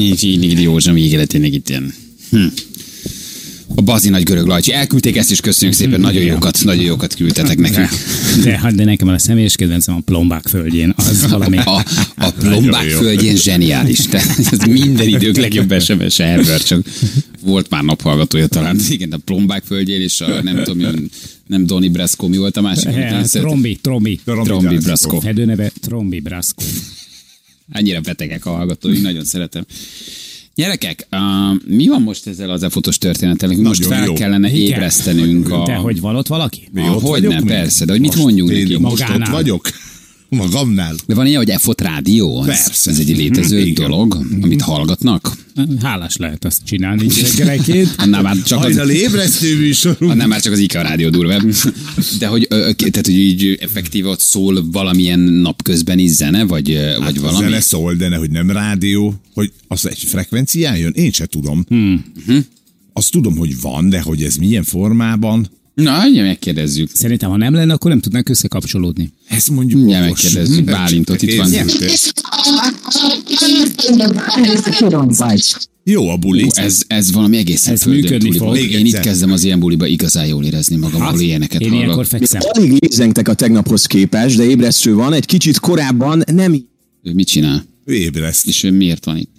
Így, így, így józsom végére tényleg itt ilyen. Hm. A bazi nagy görög lajcsi. Elküldték ezt is, köszönjük Hm, szépen, nagyon jókat, nagyon jókat küldtetek nekünk. De, hát de nekem a személyes kedvencem a plombák földjén. Az valami. A, a plombák jó. földjén zseniális. Tehát ez minden idők legjobb SMS ever, csak volt már naphallgatója talán. Hát. Igen, a plombák földjén és a nem tudom, ilyen- nem Donny Brasco, mi volt a másik? Hát, amit nem Eh, szeret- Trombi, Trombi. Trombi Trombi Brasco. Brasco. Fedőneve Trombi Braszko. Annyira betegek a hallgatói, nagyon szeretem. Gyerekek, uh, mi van most ezzel az efotos történettel? Nekünk Most Nagyon fel jó. kellene ébresztenünk a... Te hogy van ott valaki? Mi, Ah, ott hogy vagyok nem, még? persze, de hogy mit mondjunk én neki? Most ott Magánál. vagyok. Magamnál. De van ilyen, hogy EFOT rádió? Ez, Persze. ez egy létező Mhm, igen. dolog, amit hallgatnak? Hálás lehet azt csinálni reggelenként. Annál már csak az... Hajnal ébresztő műsorunk. Annál már csak az IKEA rádió durvább. De hogy, ö, ö, tehát, hogy így effektív ott szól valamilyen napközbeni zene, vagy, ö, vagy A valami? Hát, zene szól, de ne, hogy nem rádió, hogy az egy frekvencián jön, én se tudom. Hmm. Azt tudom, hogy van, de hogy ez milyen formában, Na, ugye megkérdezzük. Szerintem, ha nem lenne, akkor nem tudnánk összekapcsolódni. ezt mondjuk Mindjárt okos. Hmm. megkérdezzük. Bálintot itt van. Nézzük. Jó a buli. Ó, ez, ez valami egészen Ez földön működni túli fog. dolog. Még Én itt egyszer. Hát, kezdem az ilyen buliba igazán jól érezni magam, ahol ilyeneket Én hallok. ilyenkor fekszem. Alig lézengtek a tegnaphoz képest, de ébresztő van, egy kicsit korábban nem így Ő mit csinál? Ő ébreszt. És ő miért van itt?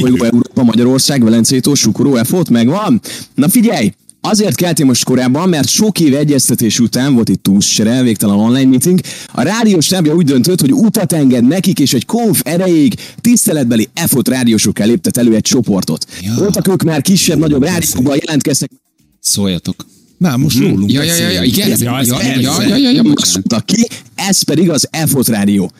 Bolygó Európa, Magyarország, Velencétó, Sukoró, Efot, megvan? Na figyelj! Azért keltem most korábban, mert sok év egyeztetés után volt itt túlsere, végtelen online meeting. A rádiós tábja úgy döntött, hogy utat enged nekik, és egy konf erejéig tiszteletbeli EFOT rádiósok léptet elő egy csoportot. Ja. Voltak ők már kisebb-nagyobb rádiókban jelentkeztek, Szóljatok. Na, most rólunk Hmm. Ja, ja, ja, ja, beszélünk. igen. Ja, Ja, ez ja, persze. ja, ja, ja, ja, bocsánat. mondtak ki, ez pedig az EFOT rádió.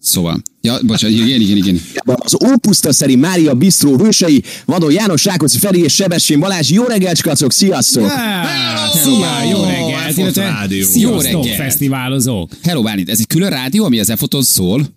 Szóval. Ja, bocsánat, igen, igen, igen. Rádióban az Ópuszta szeri Mária Bistró hősei, Vadon János, Rákóczi Feri és Sebestyén Balázs. Jó reggelt, skacok, sziasztok! Ah, Hello! Szia, jó reggelt! Elfont illetve rádió. Jó Sziasztok, reggelt! fesztiválozók! Hello, Bálint, ez egy külön rádió, ami az EFOTON szól?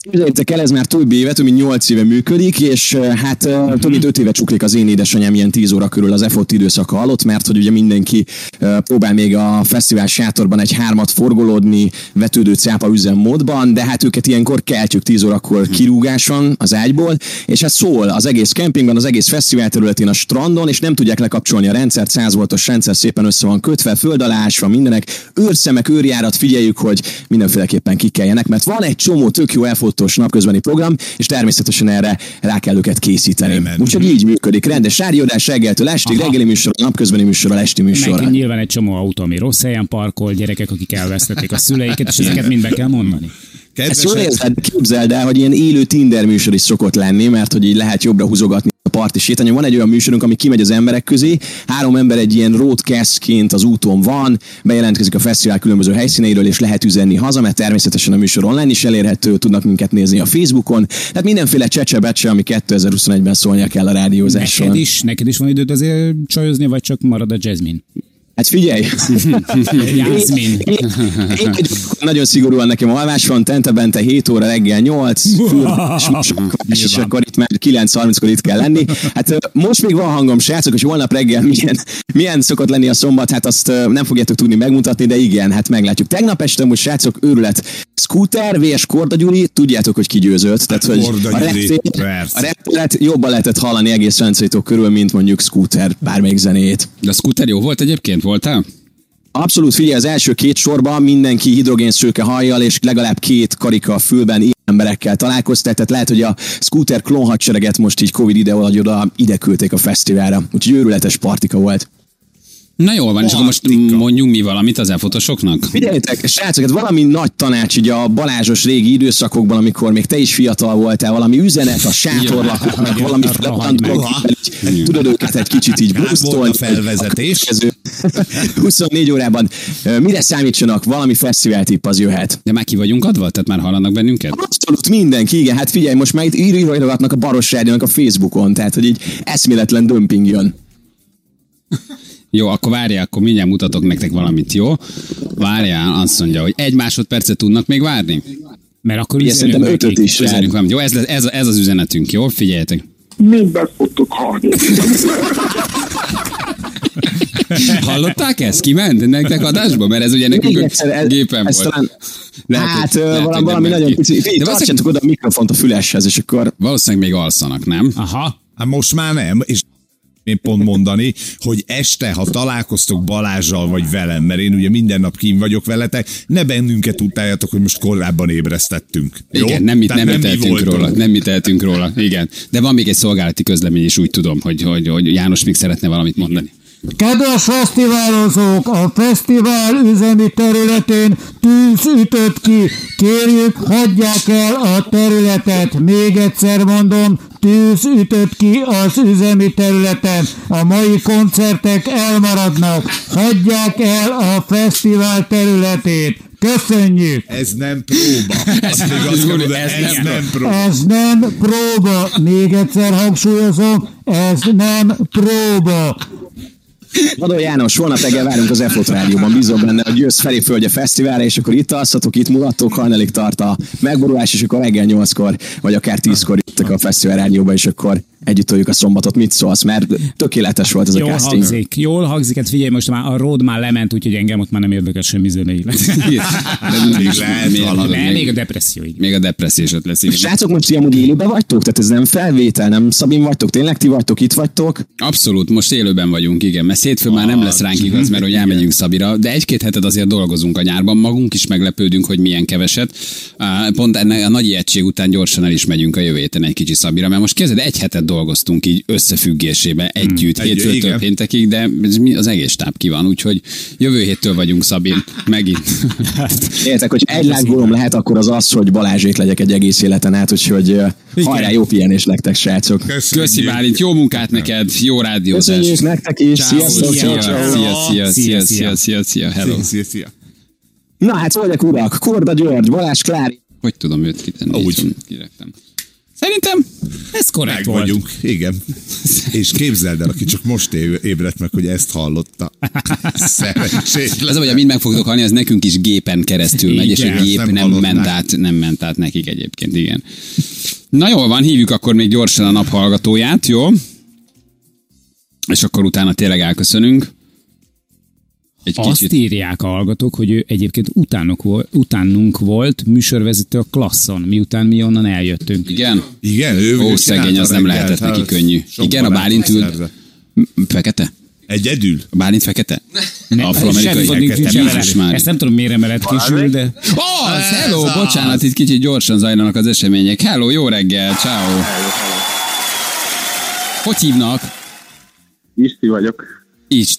Képzeljétek el, ez már több éve, több mint 8 éve működik, és eh, hát eh, több mint 5 éve csuklik az én édesanyám ilyen 10 óra körül az EFOT időszaka alatt, mert hogy ugye mindenki eh, próbál még a fesztivál sátorban egy hármat forgolódni vetődő cápa üzemmódban, de hát őket ilyenkor keltjük 10 órakor kirúgáson az ágyból, és hát szól az egész kempingben, az egész fesztivál területén a strandon, és nem tudják lekapcsolni a rendszert, 100 voltos rendszer szépen össze van kötve, föld alá ásva, mindenek, őrszemek, őrjárat, figyeljük, hogy mindenféleképpen kikeljenek, mert van egy csomó tök jó elfotós napközbeni program, és természetesen erre rá kell őket készíteni. Amen. Úgyhogy így működik, rendes rádiódás reggeltől estig, Aha. reggeli műsor, napközbeni műsor, esti műsor. Meg nyilván egy csomó autó, ami rossz helyen parkol, gyerekek, akik elvesztették a szüleiket, és ezeket mind be kell mondani. Ezt jól Kedves érzed, de képzeld el, hogy ilyen élő Tinder műsor is szokott lenni, mert hogy így lehet jobbra húzogatni a parti sétányon. Van egy olyan műsorunk, ami kimegy az emberek közé, három ember egy ilyen roadcastként az úton van, bejelentkezik a fesztivál különböző helyszíneiről, és lehet üzenni haza, mert természetesen a műsor online is elérhető, tudnak minket nézni a Facebookon. Tehát mindenféle csecsebecse, ami 2021-ben szólnia kell a Neked rádiózáson. is, neked is van időd azért csajozni, vagy csak marad a jazzmin? Hát figyelj! Jászmin. Én, én vagyok, nagyon szigorúan nekem alvás van, tente bente 7 óra reggel 8, és, és Nyilván. akkor itt már 9.30-kor itt kell lenni. Hát ö, most még van hangom, srácok, és holnap reggel milyen, milyen szokott lenni a szombat, hát azt ö, nem fogjátok tudni megmutatni, de igen, hát meglátjuk. Tegnap este most, srácok, őrület. Scooter, vs. Korda Gyuri, tudjátok, hogy ki győzött. Tehát, hogy Korda a Gyuri, reptér, persze. a reptéret jobban lehetett hallani egész rendszerítók körül, mint mondjuk Scooter bármelyik zenéjét. De a scooter jó volt egyébként, voltál? Abszolút figyelj, az első két sorban mindenki hidrogén szőke hajjal és legalább két karika a fülben ilyen emberekkel találkoztak, tehát lehet, hogy a scooter klónhadsereget most így Covid ide vagy oda ide küldték a fesztiválra. Úgyhogy őrületes partika volt. Na jól van, és akkor most mondjunk mi valamit az elfotosoknak? Figyeljétek, srácok, hát valami nagy tanács így a Balázsos régi időszakokban, amikor még te is fiatal voltál, valami üzenet a sátorlakóknak, Igen, valami a rohagy meg. így tudod őket egy kicsit így Kár volt a brusztolni. felvezetés. A következő 24 órában ö, mire számítsanak, valami fesztivál tipp az jöhet. De már ki vagyunk adva? Tehát már hallanak bennünket? Abszolút mindenki, igen. Hát figyelj, most már itt ír- írogatnak a Baros Rádiónak a Facebookon, tehát hogy így eszméletlen dömping jön. Jó, akkor várjál, akkor mindjárt mutatok nektek valamit, jó? Várjál, azt mondja, hogy egy másodpercet tudnak még várni? Mert akkor Ugye üzenünk szerintem nekik. ötöt is. Üzenünk valamit, jó? Ez, lesz- ez, ez az üzenetünk, jó? Figyeljetek. Mindent tudtuk hallni. Hallották ezt? Kiment nektek adásba? Mert ez ugye nekünk Még egyszer, egyszer, ez, ez- gépen ez volt. talán- hát, hogy- ö, hogy valami, nem valami ment nagyon ki. kicsi. De Figyelj, valószínűleg, tartsatok oda a mikrofont a füleshez, és akkor valószínűleg még alszanak, nem? Aha. Hát most már nem, és én pont mondani, hogy este, ha találkoztok Balázsjal vagy velem, mert én ugye minden nap kín vagyok veletek, ne bennünket utáljatok, hogy most korábban ébresztettünk. Jó? Igen, nem, mit, Tehát nem, nem mi tehetünk voltunk. róla. Nem mi tehetünk róla, igen. De van még egy szolgálati közlemény, és úgy tudom, hogy, hogy, hogy János még szeretne valamit mondani. Kedves fesztiválozók, a fesztivál üzemi területén tűz ütött ki. Kérjük, hagyják el a területet. Még egyszer mondom, tűz ütött ki az üzemi területen. A mai koncertek elmaradnak. Hagyják el a fesztivál területét. Köszönjük! Ez nem próba. Ez, még azt kell mondani, ez, ez nem, nem próba. Ez nem próba. Még egyszer hangsúlyozom, ez nem próba. Vadó János, holnap reggel várunk az Efot Rádióban, bízom benne a Győz felé földje fesztiválra, és akkor itt alszatok, itt mulattok, hajnalig tart a megborulás, és akkor reggel 8-kor, vagy akár 10-kor jöttek a Fesztivál Rádióba, és akkor együtt toljuk a szombatot. Mit szólsz? Mert tökéletes volt ez a Jól casting. hangzik, jól hangzik, hát figyelj, most már a road már lement, úgyhogy engem ott már nem érdekel semmi zenei. Igen. De Még most lehet még- valami. Nem, még a Még, depresszióig. még a depressziós öt lesz. Igen. Srácok, most ti amúgy élőben vagytok? Tehát ez nem felvétel, nem Szabin vagytok? Tényleg ti vagytok, itt vagytok? Abszolút, most élőben vagyunk, igen, mert hétfőn már Ah. nem lesz ránk igaz, mert hogy elmegyünk Szabira, de egy-két heted azért dolgozunk a nyárban, magunk is meglepődünk, hogy milyen keveset. Á, Pont ennek a nagy ijegység után gyorsan el is megyünk a jövő héten egy kicsi Szabira, mert most kezded, egy hetet dolgoztunk így összefüggésébe együtt, Hmm. Egy- hétfőtől igen. péntekig, de ez mi- az egész táb ki van, úgyhogy jövő héttől vagyunk Szabin, megint. Értek, hogy egy lángolom lehet, akkor az az, hogy Balázsék legyek egy egész életen át, úgyhogy ö, hajrá, jó pihenés nektek, srácok. Köszi Bálint, jó munkát neked, jó Köszönjük rádiózást! nektek is, Ciao, sziasztok, szia, ciao, szia, szia, szia, ciao. szia, Szia, szia. szia, szia, hello. Szia, szia, szia. Na hát, hölgyek, urak, Korda György, Balázs Klári, Hogy tudom őt kitenni? Úgy. Így van, Kirektem. Szerintem Ez korrekt Meg volt. vagyunk, igen. És képzeld el, aki csak most é- ébredt meg, hogy ezt hallotta. Szerencsét. az, hogy mind meg fogtok halni, az nekünk is gépen keresztül megy, és a Igen, gép ezt nem nem ment, hallották. át, nem ment át nekik egyébként, igen. Na jól van, hívjuk akkor még gyorsan a naphallgatóját, jó? És akkor utána tényleg elköszönünk. Egy Azt kicsit. írják a hallgatók, hogy ő egyébként utánok volt, utánunk volt műsorvezető a klasszon, miután mi onnan eljöttünk. Igen? Igen, ő Ó, ő szegény, csinálta az nem reggelt, lehetett neki hát, könnyű. sok Igen, a barát Bálint ült. szerzett. Fekete? Egyedül? A Bálint fekete? Semmi Afroamerikai. gond nincs Jézus vele. Mária. Ezt nem tudom, miért emelett kisül, de... Oh, az, Ez hello, az. bocsánat, itt kicsit gyorsan zajlanak az események. Hello, jó reggel, ciao. Hogy hívnak? Isti vagyok. Így,